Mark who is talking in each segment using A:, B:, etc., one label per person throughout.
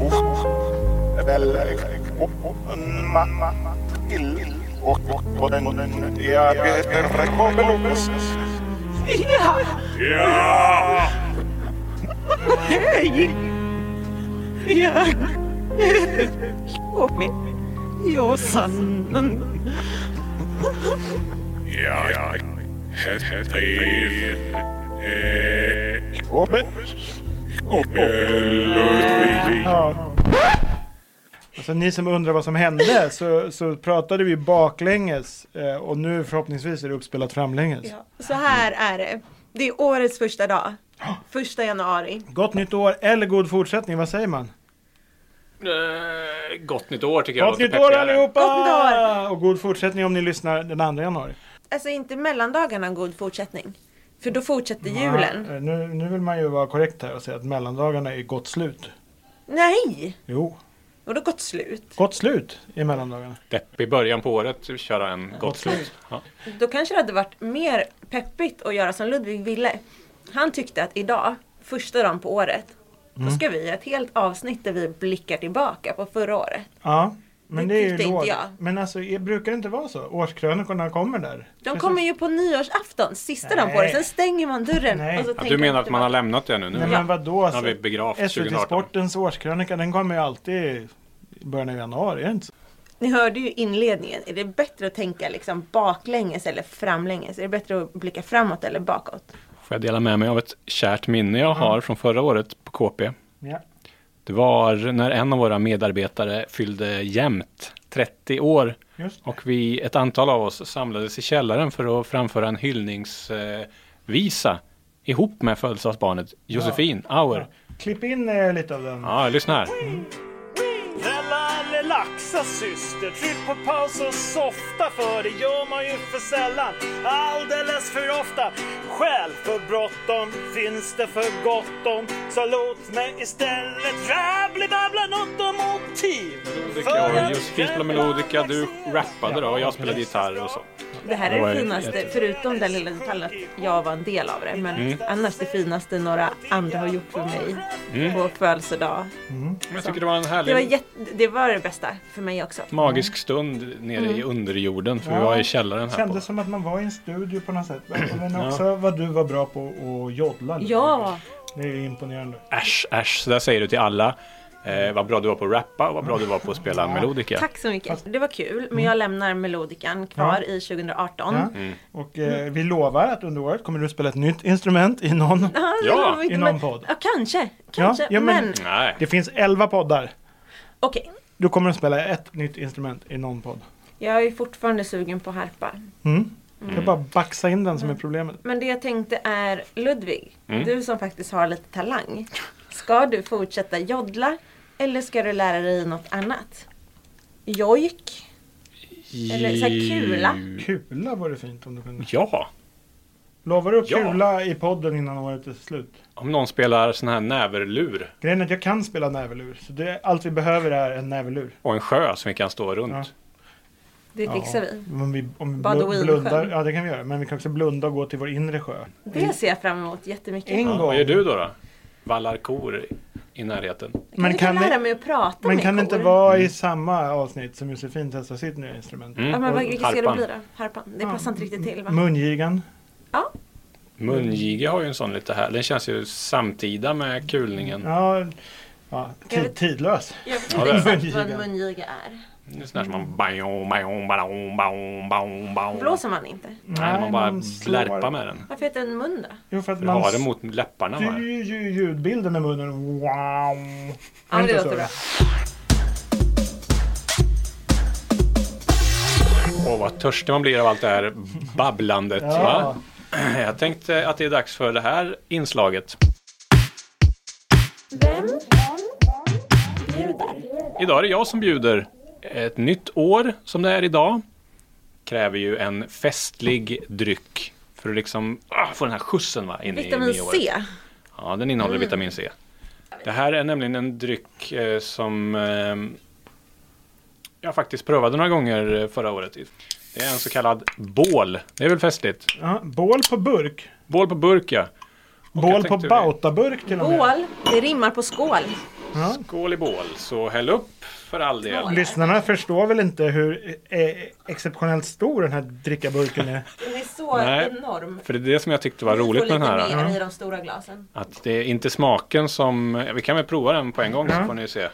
A: oh, mamma till och på den jag heter Kobelos.
B: Ja,
A: Ja!
B: hej! Jag kommer. Jossan.
A: Jag heter Kobelos. Kobelos.
C: Ja. Alltså, ni som undrar vad som hände så, så pratade vi baklänges eh, och nu förhoppningsvis är det uppspelat framlänges.
D: Ja, så här är det. Det är årets första dag. Första januari.
C: Gott nytt år eller god fortsättning, vad säger man?
E: Eh, Gott nytt år tycker jag
C: Gott
E: låter
C: nytt år
E: peppigare.
C: allihopa!
D: Gott nytt
C: Och god fortsättning om ni lyssnar den 2 januari.
D: Alltså inte mellandagarna en god fortsättning. För då fortsätter julen.
C: Ja, eh, nu, nu vill man ju vara korrekt här och säga att mellandagarna är gott slut.
D: Nej!
C: Jo,
D: Och då gått slut.
C: gott slut i mellandagarna.
E: Deppig början på året köra en gott slut. Ja.
D: Då kanske det hade varit mer peppigt att göra som Ludvig ville. Han tyckte att idag, första dagen på året, då ska vi göra ett helt avsnitt där vi blickar tillbaka på förra året.
C: Ja, men
D: Det
C: det, är ju
D: tyckte inte
C: lågt.
D: jag.
C: Men alltså, är- brukar det inte vara så? Årskrönikorna kommer där.
D: De kommer ju på nyårsafton, sista dagen på året. Sen stänger man dörren.
C: Nej.
D: Och så
C: Ja,
E: Ja,
D: tänker
E: du menar att man har lämnat det nu? nu?
C: Nej
D: Ja.
C: men vadå? alltså,
E: har vi begravt
C: SVT
E: 2018.
C: Sportens årskrönika den kommer ju alltid i början av januari, är det inte så?
D: Ni hörde ju inledningen. Är det bättre att tänka liksom baklänges eller framlänges? Är det bättre att blicka framåt eller bakåt?
E: Får jag dela med mig av ett kärt minne jag har från förra året på KP?
C: Ja.
E: Det var när en av våra medarbetare fyllde jämnt 30 år
C: Just det.
E: och vi, ett antal av oss, samlades i källaren för att framföra en hyllningsvisa ihop med födelsedagsbarnet Josefin Auer.
C: Klipp in eh, lite av den.
E: Ja, lyssna här.
F: Snälla relaxa syster, tryck på paus och softa för det gör man ju för sällan, alldeles för ofta. Skäl för bråttom finns det för gott om, så låt mig istället rabbli-babbla något om motiv.
E: Och Josefin spelade melodika, du rappade då och jag spelade gitarr och så.
D: Det här
E: Det
D: är
E: var
D: det
E: ju
D: finaste,
E: jätte-
D: förutom den lilla detaljen att jag var en del av det. Men
C: Mm.
D: annars det finaste några andra har gjort för mig
C: Mm.
D: på födelsedag.
E: Men jag tycker det var en härlig...
D: Liksom. Det var, jätte, det var det bästa för mig också.
E: magisk stund nere i
D: Mm.
E: underjorden för
C: Ja.
E: vi var i källaren här.
C: Kändes
E: På.
C: som att man var i en studio på något sätt. Men också vad du var bra på att joddla. lite.
D: Ja,
C: Det är imponerande.
E: Äsch, äsch, så där säger du till alla. Eh, vad bra du var på att rappa och vad bra du var på att spela melodika.
D: tack så mycket. Det var kul, men jag lämnar melodikan kvar i 2018.
C: Mm. Ja.
E: Mm.
C: Och eh, vi lovar att under året kommer du spela ett nytt instrument i någon.
D: Ja, det
E: Ja,
D: var mycket,
C: i någon
D: men-
C: podd.
D: Ja, kanske, kanske.
C: ja, men-
D: men
E: Nej,
C: Det finns elva poddar.
D: okej.
C: Du kommer att spela ett nytt instrument i någon podd.
D: Jag är fortfarande sugen på harpa.
C: Mm. Det är bara att baxa in den som är
D: Mm.
C: problemet.
D: Men det jag tänkte är Ludvig,
C: Mm.
D: du som faktiskt har lite talang. Ska du fortsätta joddla eller ska du lära dig något annat? Jojk? Eller så här kula?
C: Kula vore fint om du kunde.
E: Ja,
C: Lovar du att
E: Ja.
C: kula i podden innan året är slut?
E: om någon spelar sån här näverlur
C: Grejen är att jag kan spela näverlur. Så det, allt vi behöver är en näverlur.
E: och en sjö som vi kan stå runt.
D: Det fixar vi.
C: Om vi, om vi
D: Bad och
C: blu-
D: Wien
C: blundar,
D: sjön.
C: ja det kan vi göra. Men vi kan också blunda och gå till vår inre sjö.
D: Det ser jag fram emot jättemycket.
C: Mm. En
E: Ja,
C: gång.
E: vad gör du då? då? Vallar kor i närheten.
D: Jag
C: Men
D: kan,
C: kan
D: kan lära
C: det-
D: mig att prata
C: Men
D: med
C: kan det
D: kor.
C: inte vara i samma avsnitt som Josefin testar sitt nya instrument?
D: Ja,
E: Mm.
D: men vad- vilket ska det
E: Harpan.
D: bli då? Harpan. Det passar inte riktigt till va?
C: Mungigan.
E: Mungiga har ju en sån lite här. Den känns ju samtida med kulningen.
C: Ja, ja
D: Jag
C: tid,
D: vet-
C: tidlös.
D: Jag vet
E: Ja, det
D: inte
E: är
D: exakt vad en
C: mungiga.
D: mungiga är.
E: Det är sån här som man... Bajom, bajom, bajom, bajom, bajom, bajom.
D: Blåser man inte?
E: Nej, man bara
C: slår.
E: blärpar med den.
D: Varför heter den mun då?
C: Jo, för att
E: Du
C: man
E: har det mot Mm. läpparna va?
C: styr ju ljudbilden med munnen. Wow.
D: Ja,
C: Inte
D: det
C: så.
D: låter bra.
E: Åh, vad törstig man blir av allt det här babblandet.
C: Ja.
E: Va? Jag tänkte att det är dags för det här inslaget. Idag är det jag som bjuder. Ett nytt år, som det är idag, kräver ju en festlig dryck. För att liksom ah, få den här skjutsen va, in i
D: Vitamin
E: nyåret.
D: C.
E: Ja, den innehåller
D: Mm.
E: vitamin C. Det här är nämligen en dryck eh, som eh, jag faktiskt prövade några gånger eh, förra året. Det är en så kallad bål. Det är väl festligt?
C: Ja, bål på burk.
E: Bål på burk ja. Och jag
C: Bål på
E: tänkte-
C: bautaburk till och med.
D: Bål. Det rimmar på skål.
C: Ja.
E: Skål i bål. Så häll upp för all del.
C: Lyssnarna förstår väl inte hur eh, exceptionellt stor den här drickaburken är.
D: Den är så
E: Nej.
D: enorm.
E: För det är det som jag tyckte var roligt med den
D: Får lite
E: här.
D: mer i de stora glasen.
E: Att det är inte smaken som... Vi kan väl prova den på en gång så
C: Ja.
E: får ni se.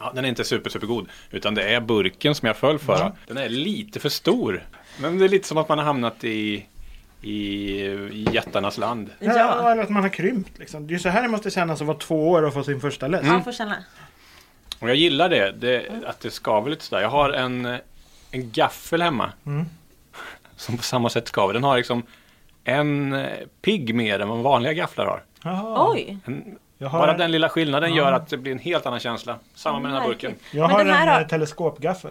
E: Ja, den är inte super, super god. Utan det är burken som jag föll för. Den är lite för stor. Men det är lite som att man har hamnat i, i jättarnas land.
C: Ja.
D: Ja.
C: eller att man har krympt liksom. Det är ju så här det måste kännas att vara två år och få sin första läst.
E: Mm.
D: Ja, får känna.
E: Och jag gillar det, det att det skaver lite sådär. Jag har en, en gaffel hemma. Som på samma sätt skaver. Den har liksom en eh, pigg mer än vad vanliga gafflar har.
C: Jaha.
D: Oj!
E: En,
C: Jag har,
E: bara
C: en-
E: den lilla skillnaden gör att det blir en helt annan känsla. Samma med den
D: Mm,
E: här burken.
C: jag
D: Men
C: har
D: den här
C: en
D: har-
C: eh, teleskopgaffel.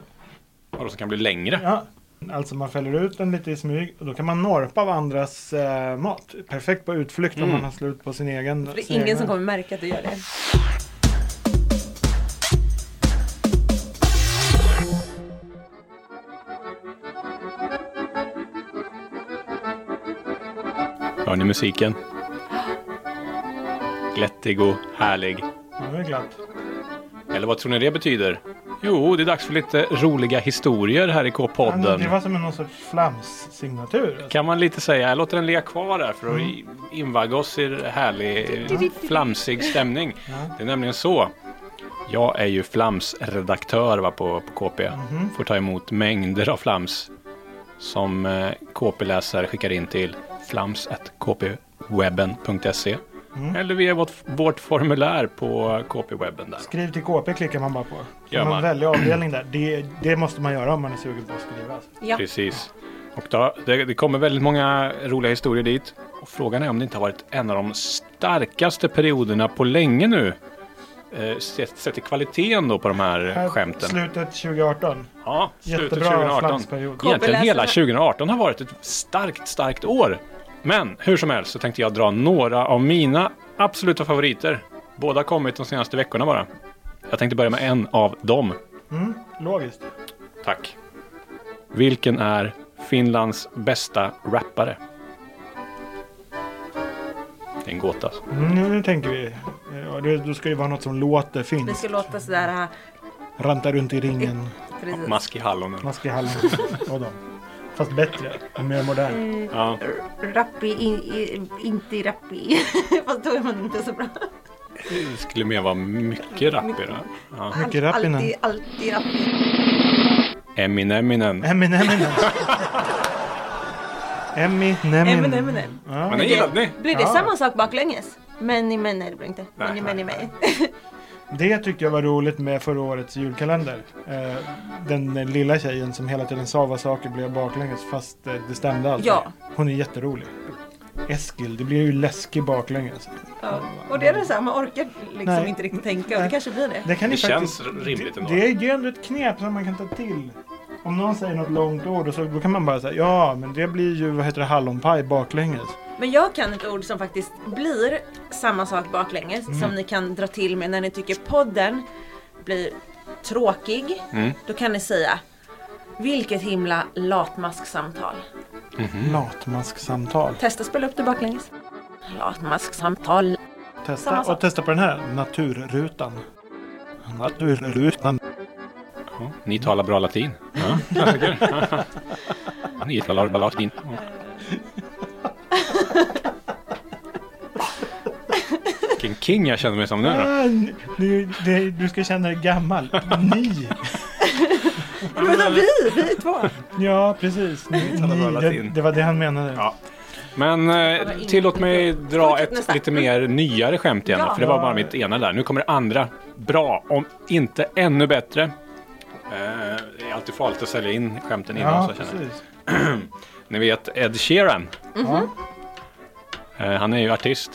E: Vadå som kan bli längre?
C: Ja. Alltså man fäller ut den lite i smyg och då kan man norpa av andras eh, mat. Perfekt på utflykt
E: Mm.
C: om man har slut på sin egen.
D: Det är
C: sin
D: ingen
C: egna.
D: som kommer märka att du gör det.
E: Hör ni musiken? Glättig och härlig.
C: Ja, det är glatt.
E: Eller vad tror ni det betyder? Jo, det är dags för lite roliga historier här i
C: Ja, Det
E: K-podden.
C: var som en någon sorts flamssignatur. Alltså.
E: Kan man lite säga, jag låter den ligga kvar där för att i- invagga oss i härlig, eh, flamsig stämning. Det är nämligen så. Jag är ju flamsredaktör va, på, på KP. Får ta emot mängder av flams som eh, KP-läsare skickar in till flams.kpwebben.se eller via vårt, vårt formulär på KP-webben där.
C: Skriv till KP klickar man bara på.
E: Gör
C: Gör man.
E: man.
C: väljer avdelning där. Det, det måste man göra om man är sugen på att skriva. Alltså.
D: Ja.
E: Precis. Och då, det, det kommer väldigt många roliga historier dit. Och frågan är om det inte har varit en av de starkaste perioderna på länge nu. Eh, sett, sett i kvaliteten då på de här
C: Här,
E: skämten.
C: Slutet 2018.
E: Ja, slutet
C: Jättebra
E: 2018.
C: flamsperiod.
E: Egentligen
D: Kobbeläsarna.
E: hela 2018 har varit ett starkt, starkt år. Men hur som helst så tänkte jag dra några av mina absoluta favoriter. Båda har kommit de senaste veckorna bara. Jag tänkte börja med en av dem.
C: Logiskt.
E: Tack. Vilken är Finlands bästa rappare? Det är en gåta.
C: Mm, nu tänker vi. Ja, det, då ska det vara något som låter
D: Det
C: finskt.
D: ska låta sådär.
C: eh,
D: äh,
C: Ranta runt i ringen.
D: Precis.
E: Mask i hallonen.
C: Mask i hallen. Och dem. Fast bättre och mer modern.
D: Mm.
E: Ja.
D: Rappi, in, i, inte rappi. Fast då är man inte så bra.
E: Det skulle mer vara mycket rappigare. Ja.
C: Mycket rappinen.
D: Alltid, alltid rappi.
E: Emineminen.
C: Eminem. Emmy,
D: Emin,
C: Nemin.
D: Eminem.
E: Men det gillade ni.
D: Blir det
C: Ja.
D: samma sak baklänges? Men i men, nej det blir inte. Men i men i mig.
C: Det tyckte jag var roligt med förra årets julkalender. Eh, Den den lilla tjejen som hela tiden sa vad saker blev baklänges fast eh, det stämde alltid.
D: Ja.
C: Hon är jätterolig. Eskil, det blir ju läskig baklänges.
D: Ja. Och det är det så här, man orkar liksom
C: Nej.
D: inte riktigt tänka. Och det
C: Nej.
D: kanske blir det.
C: Det, kan
E: Det
C: ju
E: känns
C: faktiskt,
E: rimligt ändå.
C: det är ju ändå ett knep som man kan ta till. Om någon säger något långt ord och så, då kan man bara säga ja men det blir ju vad heter det, hallonpaj baklänges.
D: Men jag kan ett ord som faktiskt blir samma sak baklänges som ni kan dra till med när ni tycker podden blir tråkig. Då kan ni säga vilket himla latmasksamtal.
E: Mm.
C: Latmasksamtal.
D: Testa spela upp det baklänges. Latmasksamtal.
C: Testa,
D: Samma sak.
C: och testa på den här, naturrutan. Naturrutan.
E: Ja. Ni talar bra latin. Ja. klassiker. Ja. Ni talar bra latin. Ja. Vilken king jag känner mig som nu då.
C: Ah, nu, det, du ska känna dig gammal. Ni.
D: Men vi, vi två.
C: Ja, precis. Ni,
E: Han har
C: ni,
E: rullat
C: det,
E: in.
C: det var det han menade.
E: Ja. Men eh, tillåt mig dra
D: Fortsätt
E: ett
D: nästa.
E: lite mer nyare skämt igen.
D: Ja.
E: För det var bara mitt ena där. Nu kommer det andra. Bra, om inte ännu bättre. Eh, det är alltid farligt att sälja in skämten innan.
C: Ja,
E: så jag känner.
C: precis.
E: Ni vet Ed Sheeran.
C: Ja.
D: Mhm.
E: Eh, han är ju artist.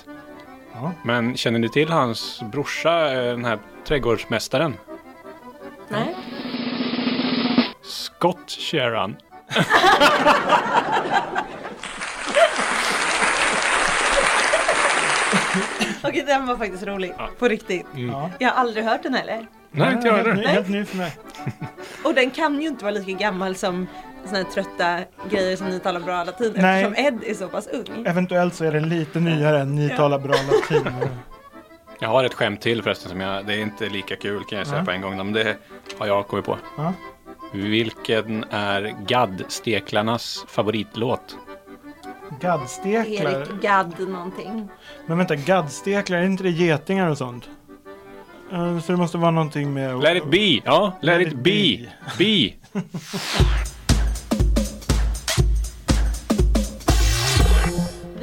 C: Ja.
E: Men känner ni till hans brorsa, eh, den här trädgårdsmästaren?
D: Nej.
E: Scott Sheeran.
D: Okej, den var faktiskt rolig. På riktigt.
C: Ja.
D: Jag har aldrig hört den heller.
E: Nej, inte jag
C: Ah, helt
E: heller.
C: ny- Helt ny för mig.
D: Och den kan ju inte vara lika gammal som såna här trötta grejer som ni talar bra latin
C: Nej.
D: eftersom Ed är så pass ung.
C: Eventuellt så är den lite nyare än ni talar bra latin.
E: Jag har ett skämt till förresten som jag, det är inte lika kul kan jag säga på en gång. Men det har jag kommit på.
C: Ja.
E: Vilken är gaddstekarnas favoritlåt?
C: Gaddsteklar.
D: Erik Gadd någonting.
C: Men vänta, gaddsteklar, är inte det getingar och sånt? Eh, Så det måste vara någonting med...
E: Let it be! Ja, let, it be! Be!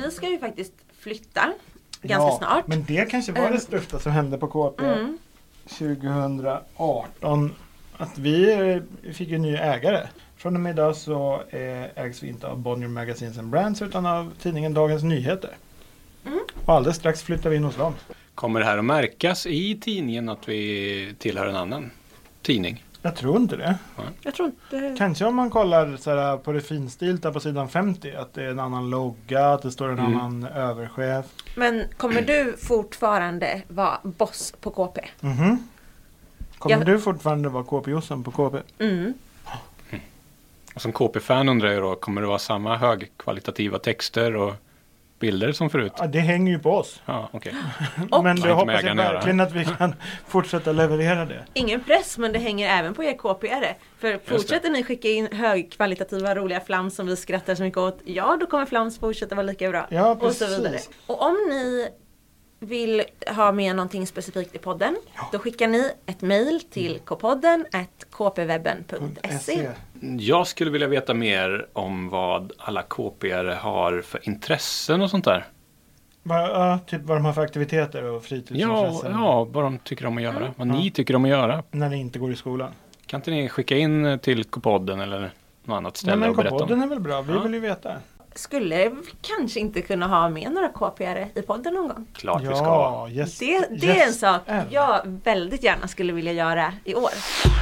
D: Vi ska ju faktiskt flytta ganska
C: Ja,
D: snart.
C: Men det kanske var
D: Eh.
C: det största som hände på KP
D: Mm.
C: 2018. Att vi eh, fick ju ny ägare. Från och med idag så eh, ägs vi inte av Bonnier Magazines and Brands utan av tidningen Dagens Nyheter.
D: Mm.
C: Och alldeles strax flyttar vi in hos dem.
E: Kommer det här att märkas i tidningen att vi tillhör en annan tidning?
C: Jag tror inte det.
D: Jag tror inte...
C: Kanske om man kollar så här, på det finstilta på sidan 50 att det är en annan logga, att det står en
E: Mm.
C: annan överchef.
D: Men kommer du fortfarande vara boss på KP?
C: Mhm. Kommer
D: Jag-
C: du fortfarande vara KP-Jossan på KP?
D: Mm.
E: Och som KP-fan undrar jag då, kommer det vara samma högkvalitativa texter och bilder som förut?
C: Ja, det hänger ju på oss.
E: Ja, okej.
D: Och-
C: Men
E: Har
C: du
E: inte
C: hoppas
E: med
C: jag
E: ägarna att göra.
C: verkligen att vi kan fortsätta leverera det.
D: Ingen press, men det hänger även på er KP-are. För fortsätter ni skicka in högkvalitativa roliga flams som vi skrattar så mycket åt, ja då kommer flams fortsätta vara lika bra.
C: Ja,
D: Och så vidare.
C: precis.
D: Och om ni vill ha med någonting specifikt i podden, då skickar ni ett mail till kpodden kpwebben.se.
E: Jag skulle vilja veta mer om vad alla kp har för intressen och sånt där.
C: Vad- ja, typ vad de har för aktiviteter och
E: Ja,
C: fritidsintressen
E: ja vad de tycker om att göra. Vad ni tycker om att göra.
C: när ni inte går i skolan.
E: Kan inte ni skicka in till K-podden eller något annat
C: Nej,
E: ställe
C: men
E: och berätta om?
C: podden är väl bra, vi
E: Ja.
C: vill ju veta.
D: Skulle vi kanske inte kunna ha med några KP-are i podden någon gång.
E: Klart vi ska.
C: Ja, yes,
D: Det, det är en
C: yes,
D: sak
C: är.
D: jag väldigt gärna skulle vilja göra i år.
C: Mm.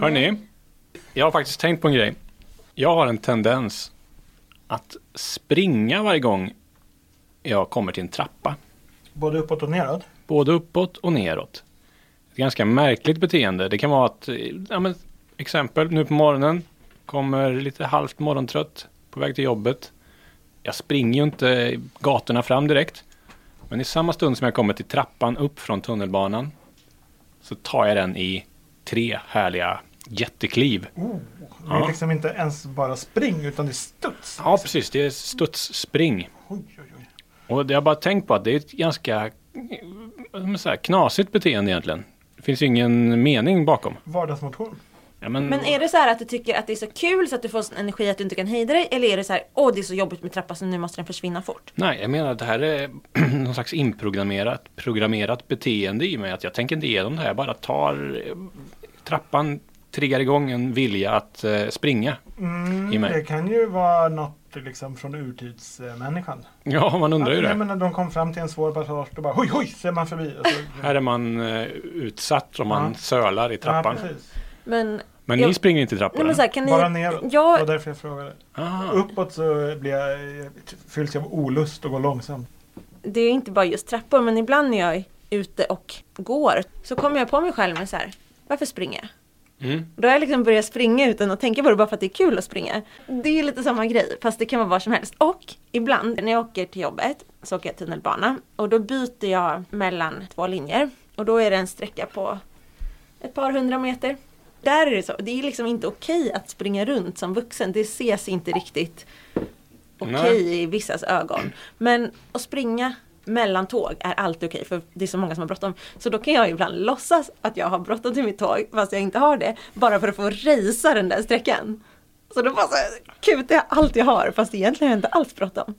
E: Hörni, jag har faktiskt tänkt på en grej. Jag har en tendens att springa varje gång jag kommer till en trappa.
C: Både uppåt och neråt.
E: Både uppåt och neråt. Ett ganska märkligt beteende. Det kan vara att, eh, ja, men, exempel, nu på morgonen, kommer lite halvt morgontrött på väg till jobbet. Jag springer ju inte gatorna fram direkt. Men i samma stund som jag kommer till trappan upp från tunnelbanan så tar jag den i tre härliga jättekliv.
C: Oh, det
E: Ja.
C: är liksom inte ens bara spring utan det är studs.
E: Ja, precis. Det är studsspring.
C: Oj, oj, oj.
E: Och jag har bara tänkt på att det är ett ganska eh, så här, knasigt beteende egentligen. Det finns ju ingen mening bakom.
C: Vardagsmotion.
E: Ja, men,
D: Men är det så här att du tycker att det är så kul så att du får sån energi att du inte kan hejda dig? Eller är det så här, åh det är så jobbigt med trappan så nu måste den försvinna fort?
E: Nej, jag menar att det här är någon slags inprogrammerat programmerat beteende i mig. Att jag tänker inte igenom det här. Jag bara tar eh, trappan, triggar igång en vilja att eh, springa i
C: Mm,
E: mig.
C: det kan ju vara något liksom från urtidsmänniskan.
E: Ja, man undrar ju
C: jag
E: det.
C: menar, de kom fram till en svår passage och bara hoj, hoj, ser man förbi. Och så-
E: Här är man eh, utsatt om man
C: Ja.
E: sölar i trappan.
C: Ja, precis.
D: Men,
E: men
D: Ja.
E: ni springer inte i
D: nej
E: trappan?
D: men så här, kan ni...
C: Bara neråt. Det var
D: Jag,
C: därför jag frågade.
E: ah.
C: Uppåt så blir jag, fylls jag av olust och går långsamt.
D: det är inte bara just trappor men ibland när jag är ute och går så kommer jag på mig själv med så här, varför springer jag?
E: Mm.
D: Då har jag liksom börjat springa utan att tänka på det bara för att det är kul att springa. Det är ju lite samma grej fast det kan vara var som helst. Och ibland när jag åker till jobbet så åker jag tunnelbana och då byter jag mellan två linjer och då är det en sträcka på ett par hundra meter. Där är det så. Det är liksom inte okej att springa runt som vuxen. Det ses inte riktigt okej
E: Nej.
D: i vissas ögon. Men att springa mellan tåg är alltid okej för det är så många som har bråttom. Så då kan jag ibland låtsas att jag har bråttom till mitt tåg fast jag inte har det. Bara för att få rejsa den där sträckan. Så då bara så här, kutar jag allt jag har fast egentligen har jag inte alls bråttom.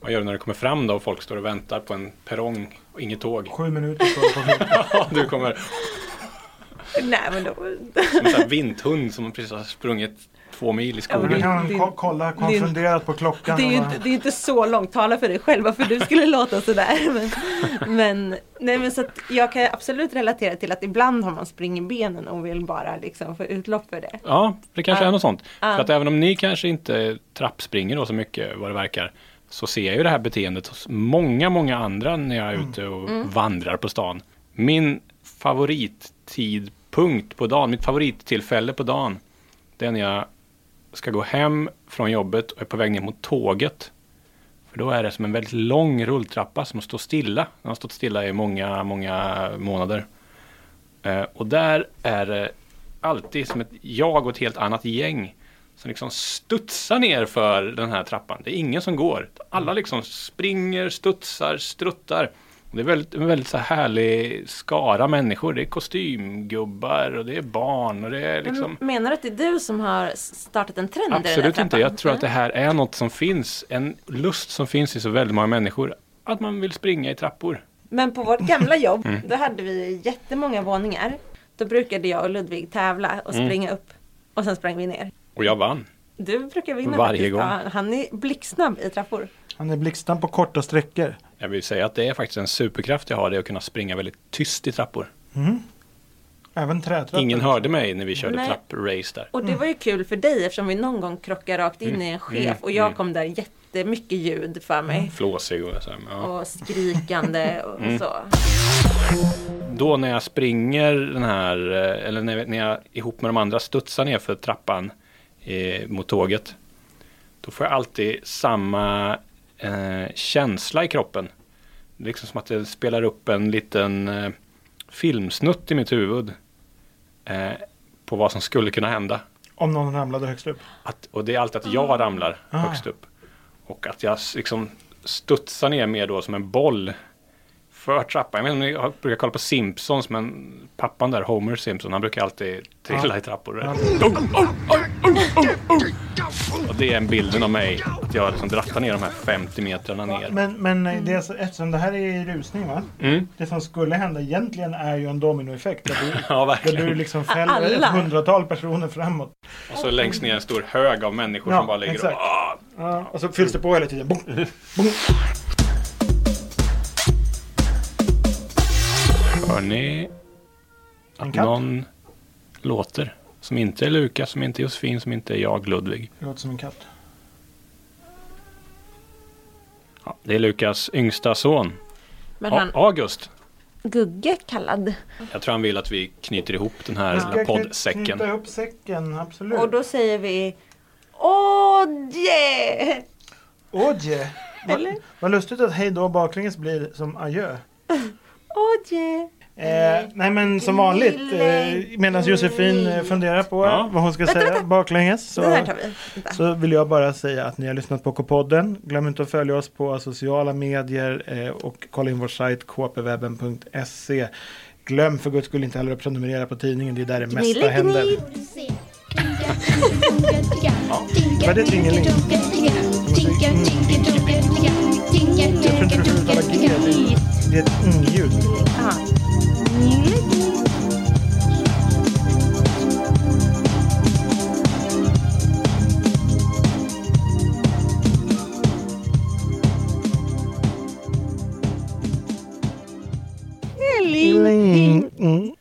E: Vad gör du när du kommer fram då och folk står och väntar på en perrong och inget tåg?
C: Sju minuter kvar på filmen.
E: Du kommer
D: Nej men då...
E: som en sån här vinthund som precis har sprungit två mil i
C: Och Då
E: skogen.
C: kan man ko- kolla konfunderat på klockan.
D: Det är, ju
C: och bara,
D: inte, det är inte så långt, tala för dig själv varför du skulle låta sådär. Men, men, nej, men så att jag kan absolut relatera till att ibland har man spring i benen och vill bara liksom få utlopp för det.
E: Ja, det kanske
D: Ja.
E: är något sånt.
D: Ja.
E: För att även om ni kanske inte trappspringer då så mycket vad det verkar så ser jag ju det här beteendet hos många, många andra när jag
D: Mm.
E: är ute och vandrar på stan. Min favorittidpunkt på dagen, mitt favorittillfälle på dagen det är när jag ska gå hem från jobbet och är på väg ner mot tåget. För då är det som en väldigt lång rulltrappa som står stilla. Den har stått stilla i många, många månader. Eh, och där är det alltid som ett jag och ett helt annat gäng som liksom studsar ner för den här trappan. Det är ingen som går. Alla liksom springer, studsar, struttar. Och det är väldigt, en väldigt så här härlig skara människor. Det är kostymgubbar och det är barn och det är
D: Men
E: liksom...
D: Menar du att det är du som har startat en trend i den här
E: Absolut inte.
D: trappan?
E: Jag tror att det här är något som finns. En lust som finns i så väldigt många människor. Att man vill springa i trappor.
D: Men på vårt gamla jobb,
E: Mm.
D: då hade vi jättemånga våningar. Då brukade jag och Ludvig tävla
E: Mm.
D: och springa upp och sen sprang vi ner.
E: Och jag vann.
D: Du brukar vinna
E: Varje
D: faktiskt.
E: gång.
D: Ja, han är blixtsnabb i trappor.
C: Han är blixtsnabb på korta sträckor.
E: Jag vill säga att det är faktiskt en superkraft jag har. Det är att kunna springa väldigt tyst i trappor.
C: Även trätrappor.
E: Ingen hörde mig när vi körde
D: Nej.
E: trapprace där.
D: Och det var ju kul för dig eftersom vi någon gång krockade rakt in i en chef och jag kom där jättemycket ljud för mig.
E: Flåsig och så. här, Mm. Ja.
D: Och skrikande och så.
E: Då när jag springer den här, eh, eller när, när jag ihop med de andra studsar ner för trappan eh, mot tåget. Då får jag alltid samma eh, känsla i kroppen. Det är liksom som att det spelar upp en liten eh, filmsnutt i mitt huvud. Eh, på vad som skulle kunna hända.
C: Om någon ramlade högst upp.
E: Att, och det är alltid att jag ramlar
C: Ah.
E: högst upp. Och att jag s- liksom studsar ner mer då som en boll för trappan. Jag, vet inte om ni har- brukar kolla på Simpsons men pappan där, Homer Simpson, han brukar alltid
C: Ah.
E: trilla i trappor. Dunk, oj, oj, oj, oj, oj. Och det är en bilden av mig, att jag liksom drattar ner de här 50 metrarna ner.
C: Men, men eh, det
D: Mm.
C: är, så- eftersom det här är i rusning va?
E: Mm.
C: Det som skulle hända egentligen är ju en dominoeffekt. Där du,
E: Ja,
C: där du
E: verkligen.
C: liksom fäller
D: Alla.
C: ett hundratal personer framåt.
E: Och så längst ner en stor hög av människor
C: Ja,
E: som bara ligger och...
C: exakt.
E: Ah.
C: Ja, och så fylls det på hela tiden. Boom, boom.
E: Hör ni
C: En
E: att
C: katt.
E: någon låter? Som inte är Lukas, som inte är Josefin, som inte är jag, Ludvig.
C: Det låter som en katt.
E: Ja, det är Lukas yngsta son,
D: Men
E: A-
D: han,
E: August.
D: Gugge kallad.
E: Jag tror han vill att vi knyter ihop den här
C: Ska
E: lilla poddsäcken.
C: Knyta ihop säcken, absolut.
D: Och då säger vi Åh yeah!
C: Oje!
D: Eller?
C: Vad lustigt att hej då baklänges blir som adjö.
D: Åh yeah!
C: Eh, nej men som vanligt, eh, medan Josefin eh, funderar på
E: Ja.
C: vad hon ska säga baklänges
D: Den
C: så,
D: här tar vi. Vänta.
C: så vill jag bara säga att ni har lyssnat på K-podden. Glöm inte att följa oss på sociala medier eh, och kolla in vår sajt kpwebben.se. Glöm för guds skull inte heller att prenumerera på tidningen, det är där det mesta
D: Gnille,
C: händer.
D: gnille.
G: Tinka,
C: Det är ett mm-ljud.
D: Ja. Gnille.
C: Mm.